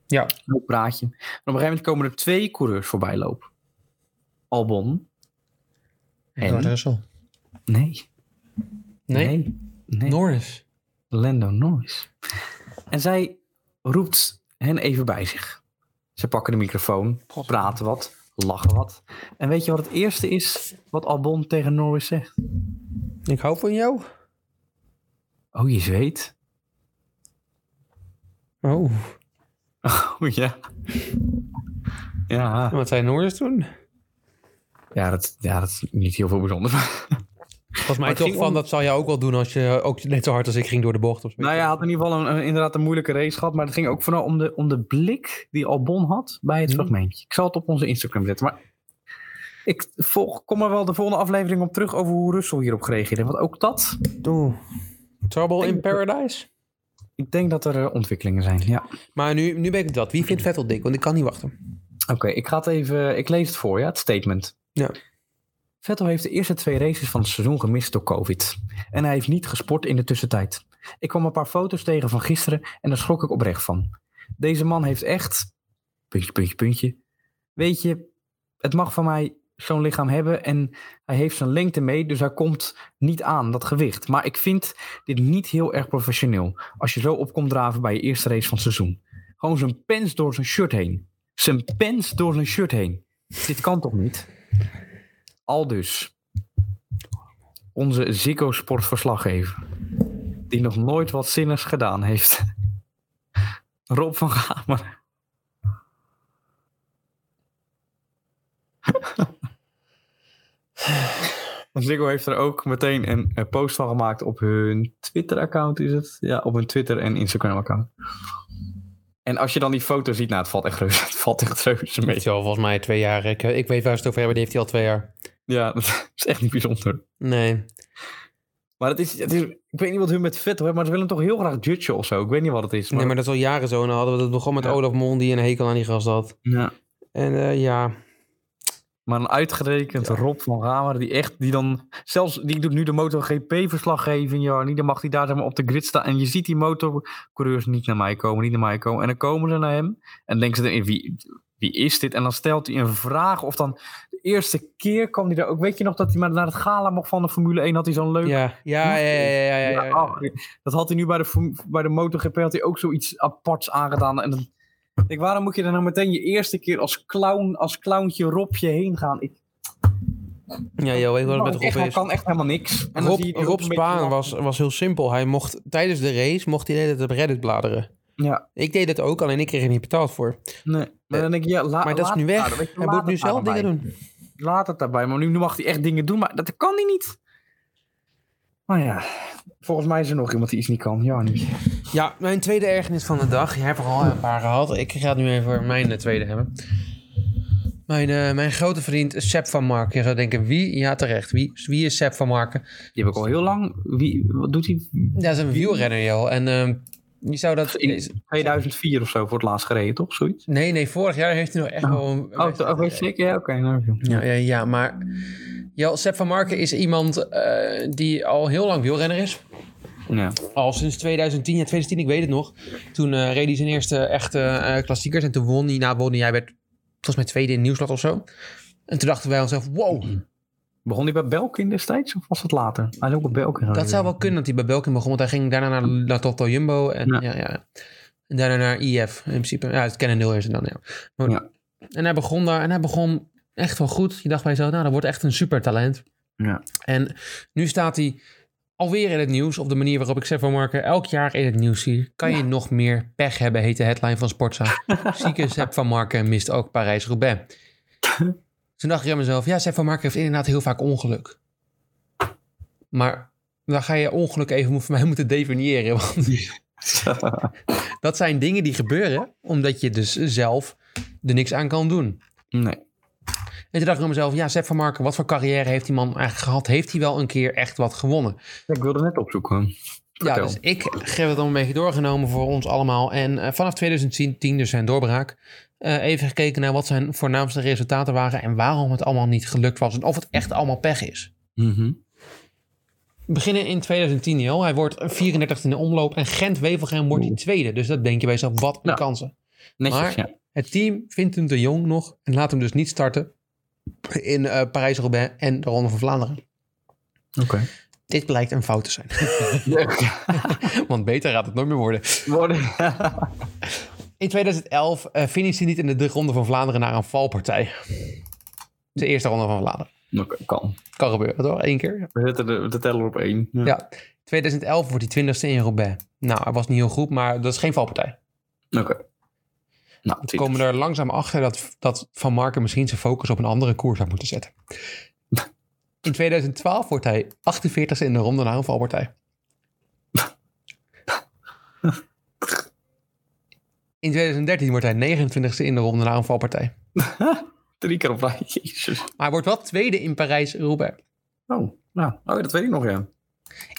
Ja.
Leuk praatje. En op een gegeven moment komen er twee coureurs voorbij lopen. Albon.
George
En?
Russell.
Nee.
Nee?
Nee. nee.
Norris.
Lando Norris. En zij roept hen even bij zich. Ze pakken de microfoon, praten wat, lachen wat. En weet je wat het eerste is wat Albon tegen Norris zegt?
Ik hou van jou.
Oh, je zweet.
Oh.
Oh ja. Ja,
En wat zei Norris toen?
ja, dat, ja dat is niet heel veel bijzonder.
Volgens
Maar
mij
het
toch
ging
van,
om-
dat zou jij ook wel doen als je eh, ook net zo hard als ik ging door de bocht. Of zo.
Nou ja, had in ieder geval een, een- inderdaad een moeilijke race gehad. Maar het ging ook vooral om de, om de blik die Albon had bij het
Hmm.
fragmentje. Ik zal het op onze Instagram zetten. Maar ik volg, kom er wel de volgende aflevering op terug over hoe Russell hierop gereageerd heeft. Want ook dat,
Oeh. Trouble in
Denk-
Paradise.
ik denk dat er eh, ontwikkelingen zijn. Ja.
Maar nu, nu ben ik dat. Wie vindt Vettel dik? Want ik kan niet wachten.
Oké, ik ga het even, ik lees het voor, ja, het statement.
Ja.
Vettel heeft de eerste twee races van het seizoen gemist door COVID. En hij heeft niet gesport in de tussentijd. Ik kwam een paar foto's tegen van gisteren en daar schrok ik oprecht van. Deze man heeft echt. Puntje, puntje, puntje. Weet je, het mag van mij zo'n lichaam hebben en hij heeft zijn lengte mee, dus hij komt niet aan dat gewicht. Maar ik vind dit niet heel erg professioneel als je zo op komt draven bij je eerste race van het seizoen. Gewoon zijn pens door zijn shirt heen zijn pens door zijn shirt heen. Dit kan toch niet? Al dus. Onze Zico Sport verslaggever. Die nog nooit wat zinnigs gedaan heeft. Rob van Gamer. Ziggo heeft er ook meteen een, eh, post van gemaakt op hun Twitter-account, is het? Ja, op hun Twitter- en Instagram-account. En als je dan die foto ziet, nou, het valt echt reuze, het valt echt reuze mee.
Weet je wel, volgens mij twee jaar. Ik, eh, ik weet waar ze het over hebben, die heeft hij al twee jaar.
Ja, dat is echt niet bijzonder.
Nee.
Maar het is, het is, ik weet niet wat hun met Vettel hebben, maar ze willen hem toch heel graag judgen of zo. Ik weet niet wat het is. Maar,
nee, maar dat is al jaren zo. En dan hadden we dat begon met
Ja.
Olaf Mol, die een hekel aan die gast had.
Ja.
En eh, ja,
maar een uitgerekend Rob van Hamer, die echt, die dan, zelfs, die doet nu de MotoGP-verslaggeving, Jarnie, dan mag hij daar zeg maar, op de grid staan. En je ziet die motorcoureurs niet naar mij komen, niet naar mij komen. En dan komen ze naar hem en denken ze, erin, wie, wie is dit? En dan stelt hij een vraag of dan, eerste keer kwam hij daar ook. Weet je nog dat hij maar naar het gala mocht van de Formule 1 had hij zo'n leuk.
Ja, ja, ja, ja, ja, ja, ja.
Ja, oh, dat had hij nu bij de, Form- bij de MotoGP had hij ook zoiets aparts aangedaan. En dan, ik, denk, waarom moet je er nou meteen je eerste keer als clown, als clowntje Robje heen gaan? Ik, Oh,
Ja, joh, weet je wat het met Rob
echt, hij
is?
kan echt helemaal niks. En dan
Rob,
zie je die
Rob's
een beetje
baan
lachen.
was, was heel simpel. Hij mocht tijdens de race mocht hij de hele tijd op Reddit bladeren.
Ja,
Ik deed dat ook, alleen ik kreeg er niet betaald voor.
nee. Maar dan denk ik, ja, la-
Eh, Maar dat is
Ah, laat
nu
het
weg.
daar, weet je,
Hij
laat
moet nu
het daar
zelf
dan
dingen
bij.
doen.
Laat het daarbij, maar nu, nu mag hij echt dingen doen, maar dat kan hij niet. Maar ja, volgens mij is er nog iemand die iets niet kan. Ja, niet.
Ja, mijn tweede ergernis van de dag. Je hebt er al een paar gehad. Ik ga het nu even voor mijn eh, tweede hebben. Mijn, eh, mijn grote vriend Sepp van Marken. Je zou denken, wie? Ja, terecht. Wie, wie is Sepp van Marken?
Die heb ik al heel lang. Wie, wat doet hij?
Dat is een wielrenner, joh. En ehm, je zou dat...
In 2004 of zo voor het laatst gereden, toch? Zoiets?
Nee, nee, vorig jaar heeft hij nog echt wel... een-
Oh, to- oh, weet je zeker? Ja, oké. nou, ja.
Ja, ja, ja maar Jel, Sepp van Marken is iemand eh, die al heel lang wielrenner is.
Ja.
Al sinds 2010, ja 2010, ik weet het nog. Toen eh, reed hij zijn eerste echte eh, klassiekers en toen won hij. Na won hij, hij werd volgens mij tweede in Nieuwsblad of zo. En toen dachten wij onszelf, wow,
Begon hij bij Belkin destijds of was dat later? Hij is ook bij Belkin. gereden.
dat zou wel kunnen dat hij bij Belkin begon. Want hij ging daarna naar, naar Toto Jumbo en, ja.
Ja.
Ja, en daarna naar IF in principe. Ja, het kennen nul eerst en dan, ja. Maar-
Ja.
En hij begon daar en hij begon echt wel goed. Je dacht bij jezelf, nou, dat wordt echt een supertalent.
Ja.
En nu staat hij alweer in het nieuws. Op de manier waarop ik Sepp van Marken elk jaar in het nieuws zie. Kan je nog meer pech hebben, heet de headline van Sportza. Zieke Sepp van Marken mist ook Parijs-Roubaix. Toen dacht ik aan mezelf, ja, Sepp van Marken heeft inderdaad heel vaak ongeluk. Maar dan ga je ongeluk even voor mij moeten definiëren. Want dat zijn dingen die gebeuren omdat je dus zelf er niks aan kan doen.
nee.
En toen dacht ik aan mezelf, ja, Sepp van Marken, wat voor carrière heeft die man eigenlijk gehad? Heeft hij wel een keer echt wat gewonnen?
Ik wilde net opzoeken.
Ja,
Vertel.
dus ik heb het al een beetje doorgenomen voor ons allemaal. En eh, vanaf 2010, dus zijn doorbraak, eh, even gekeken naar wat zijn voornaamste resultaten waren en waarom het allemaal niet gelukt was en of het echt allemaal pech is.
Mhm.
We beginnen in 2010 al. Hij wordt 34 in de omloop en Gent-Wevelgem wordt die tweede. Dus dat denk je bij jezelf, wat een
Ja.
kansen.
Netjes,
Maar-
ja.
Het team vindt hem te jong nog en laat hem dus niet starten in eh, Parijs-Roubaix en de Ronde van Vlaanderen.
Oké.
Dit blijkt een fout te zijn.
Ja.
Want beter gaat het nooit meer worden.
Worden-
In 2011 eh finisht hij niet in de, de Ronde van Vlaanderen naar een valpartij. De eerste Ronde van Vlaanderen.
Oké, kan.
Kan gebeuren, toch? Eén keer.
We zetten de, de teller op één. Ja.
Ja. 2011 wordt hij twintigste in Roubaix. Nou, hij was niet heel goed, maar dat is geen valpartij.
Oké. Nou,
We komen er langzaam achter dat, dat Van Marken misschien zijn focus op een andere koers zou moeten zetten. In 2012 wordt hij 48ste in de Ronde naar een valpartij. In 2013 wordt hij 29ste in de Ronde naar een valpartij.
drie keer op rij. Jezus.
Maar hij wordt wel tweede in Parijs-Roubaix.
Oh, nou. oh, ja, dat weet ik nog, ja.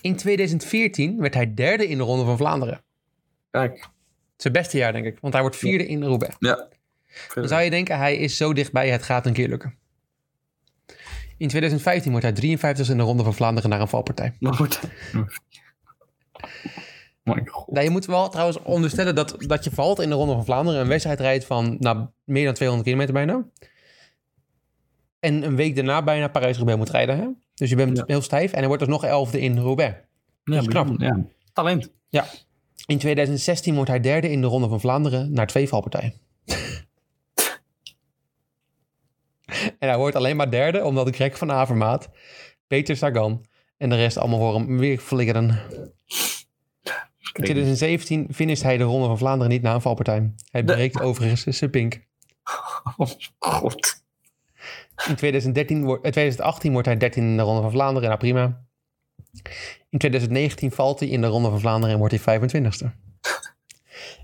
In 2014 werd hij derde in de Ronde van Vlaanderen.
Kijk.
Zijn beste jaar, denk ik. Want hij wordt vierde in Roubaix.
Ja.
Dan zou je denken, hij is zo dichtbij, het gaat een keer lukken. In 2015 wordt hij 53 in de Ronde van Vlaanderen naar een valpartij.
Maar goed. Mijn god.
Nou, je moet wel trouwens onderstellen dat, dat je valt in de Ronde van Vlaanderen. Een wedstrijd rijdt van nou, meer dan 200 kilometer bijna. En een week daarna bijna Parijs-Roubaix moet rijden. Hè? Dus je bent
Ja.
heel stijf. En hij wordt dus nog elfde in Roubaix.
Ja,
knap.
Ja. Talent.
In 2016 wordt hij derde in de Ronde van Vlaanderen naar twee valpartijen. en hij wordt alleen maar derde omdat ik Greg van Avermaat, Peter Sagan en de rest allemaal voor hem weer flikkeren. In 2017 finisht hij de Ronde van Vlaanderen niet na een valpartij. Hij
De-
breekt overigens zijn pink.
Oh, god.
In 2013 wordt, eh, 2018 wordt hij 13 in de Ronde van Vlaanderen. Nou, prima. In 2019 valt hij in de Ronde van Vlaanderen en wordt hij 25ste.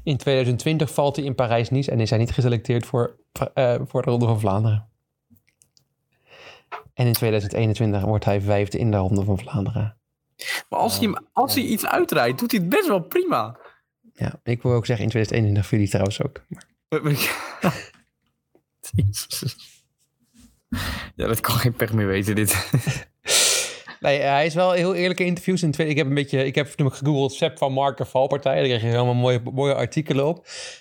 In 2020 valt hij in Parijs-Nice en is hij niet geselecteerd voor, eh, voor de Ronde van Vlaanderen. En in 2021 wordt hij vijfde in de Ronde van Vlaanderen.
Maar als, hij, hem- als hij iets uitrijdt, doet hij het best wel prima.
Ja, ik wil ook zeggen in 2021 voor jullie trouwens ook.
Jezus. Ja, dat kan geen pech meer weten, dit.
Nee, eh, hij is wel heel eerlijke interviews. In twee, ik heb een beetje, ik heb toen gegoogeld Sepp van Marken valpartij. Daar kreeg je helemaal mooie, mooie artikelen op.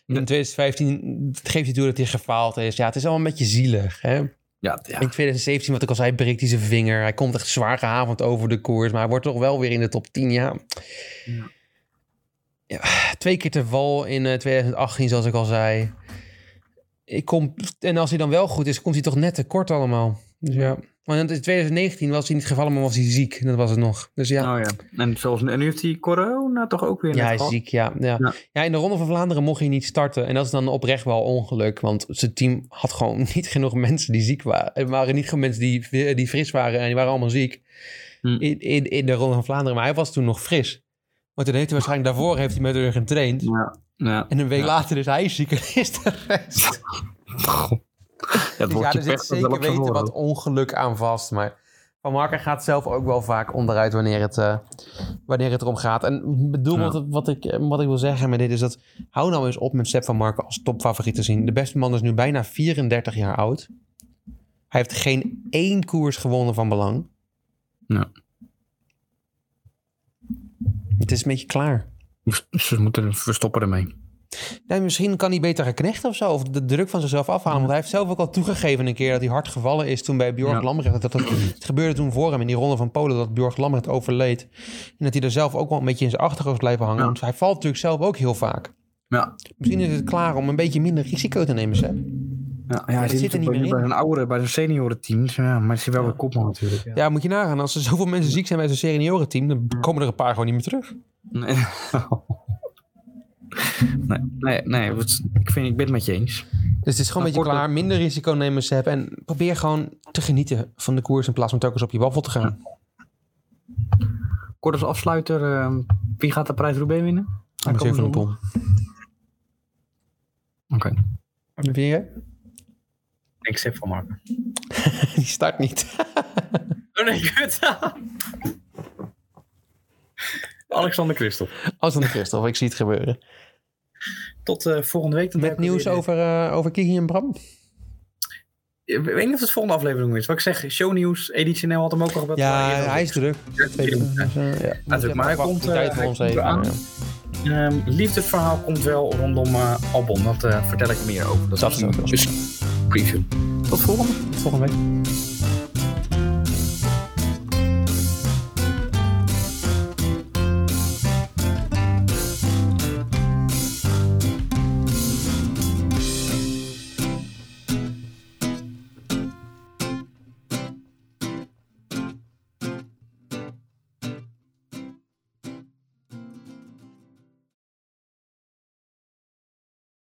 In
Ja.
2015 geeft hij toe dat hij gefaald is. Ja, het is allemaal een beetje zielig. Hè?
Ja, ja.
In 2017, wat ik al zei, breekt hij zijn vinger. Hij komt echt zwaar gehavend over de koers. Maar hij wordt toch wel weer in de top 10, ja.
Ja.
Ja, twee keer te val in eh, 2018, zoals ik al zei. Ik kom, en als hij dan wel goed is, komt hij toch net te kort allemaal. Dus ja. Want in 2019 was hij niet gevallen, maar was hij ziek. Dat was het nog. Dus ja.
Oh, ja. En, zoals, en nu heeft hij corona toch ook weer net
Ja, hij is
gehad?
ziek, ja. Ja.
Ja.
ja, in de Ronde van Vlaanderen mocht hij niet starten. En dat is dan oprecht wel ongeluk. Want zijn team had gewoon niet genoeg mensen die ziek waren. Er waren niet genoeg mensen die, die fris waren. En die waren allemaal ziek
Hm.
in, in, in de Ronde van Vlaanderen. Maar hij was toen nog fris. Want toen heeft hij waarschijnlijk daarvoor heeft hij met hun getraind.
Ja, ja.
En een week
Ja.
later is hij zieker is de rest.
Ja,
Dus
het
ja, er
wordt je
zit
pech dat wel
zeker
op zijn
weten
oren.
wat ongeluk aan vast. Maar Van Marken gaat zelf ook wel vaak onderuit wanneer het, eh, wanneer het erom gaat. En ik bedoel,
Ja.
wat, wat, ik, eh, wat ik wil zeggen met dit is dat... Hou nou eens op met Sepp Van Marken als topfavoriet te zien. De beste man is nu bijna 34 jaar oud. Hij heeft geen één koers gewonnen van belang.
Ja.
Het is een beetje klaar.
Ze moeten we stoppen ermee.
Nee, misschien kan hij beter gaan knechten of zo. Of de druk van zichzelf afhalen. Want hij heeft zelf ook al toegegeven een keer dat hij hard gevallen is toen bij Björk
Ja.
Lambrecht. Dat het, het gebeurde toen voor hem in die ronde van Polen dat Björk Lambrecht overleed. En dat hij er zelf ook wel een beetje in zijn achterhoofd blijven hangen.
Ja.
Want hij valt natuurlijk zelf ook heel vaak.
Ja,
Misschien is het klaar om een beetje minder risico te nemen, Seb.
ja, ja hij
dat
zit,
zit er niet meer
natuurlijk bij-
in.
bij zijn oude, bij zijn seniorenteam. Ja, maar hij zit wel weer kopman natuurlijk. Ja.
Ja, moet je nagaan. Als er zoveel mensen ziek zijn bij zijn seniorenteam, dan komen er een paar gewoon niet meer terug.
Nee. nee, nee, nee wat- ik, vind, ik ben het met je eens.
Dus het is gewoon een
Maar
beetje
kort-
klaar. Minder risico nemen, Seb. En probeer gewoon te genieten van de koers in plaats van telkens op je waffel te gaan.
Kort als afsluiter, ehm, wie gaat de prijs Roubaix winnen?
Mathieu van der
Aankomende
Poel.
zondag? Oké,
Wie vind jij?
ik zeg van Marken.
Die start niet.
Oh nee, kut. Alexander Christel.
Als dan Christophe, ik zie het gebeuren.
Tot eh, volgende week. Dan
Met
hebben we
nieuws
weer-
over, eh, over Kiki en Bram.
Ik weet niet of het volgende aflevering is. Wat ik zeg, shownieuws, editie NL had hem ook al wat.
Ja,
eh,
hij is druk.
eerder gezegd. Natuurlijk, maar hij komt, eh,
tijd voor
hij
ons
komt
even.
eraan.
ja.
Ehm, liefdesverhaal komt wel rondom eh, Albon. Dat eh, vertel ik meer over.
Dat is ook wel
dus preview. Tot volgende.
Volgende week.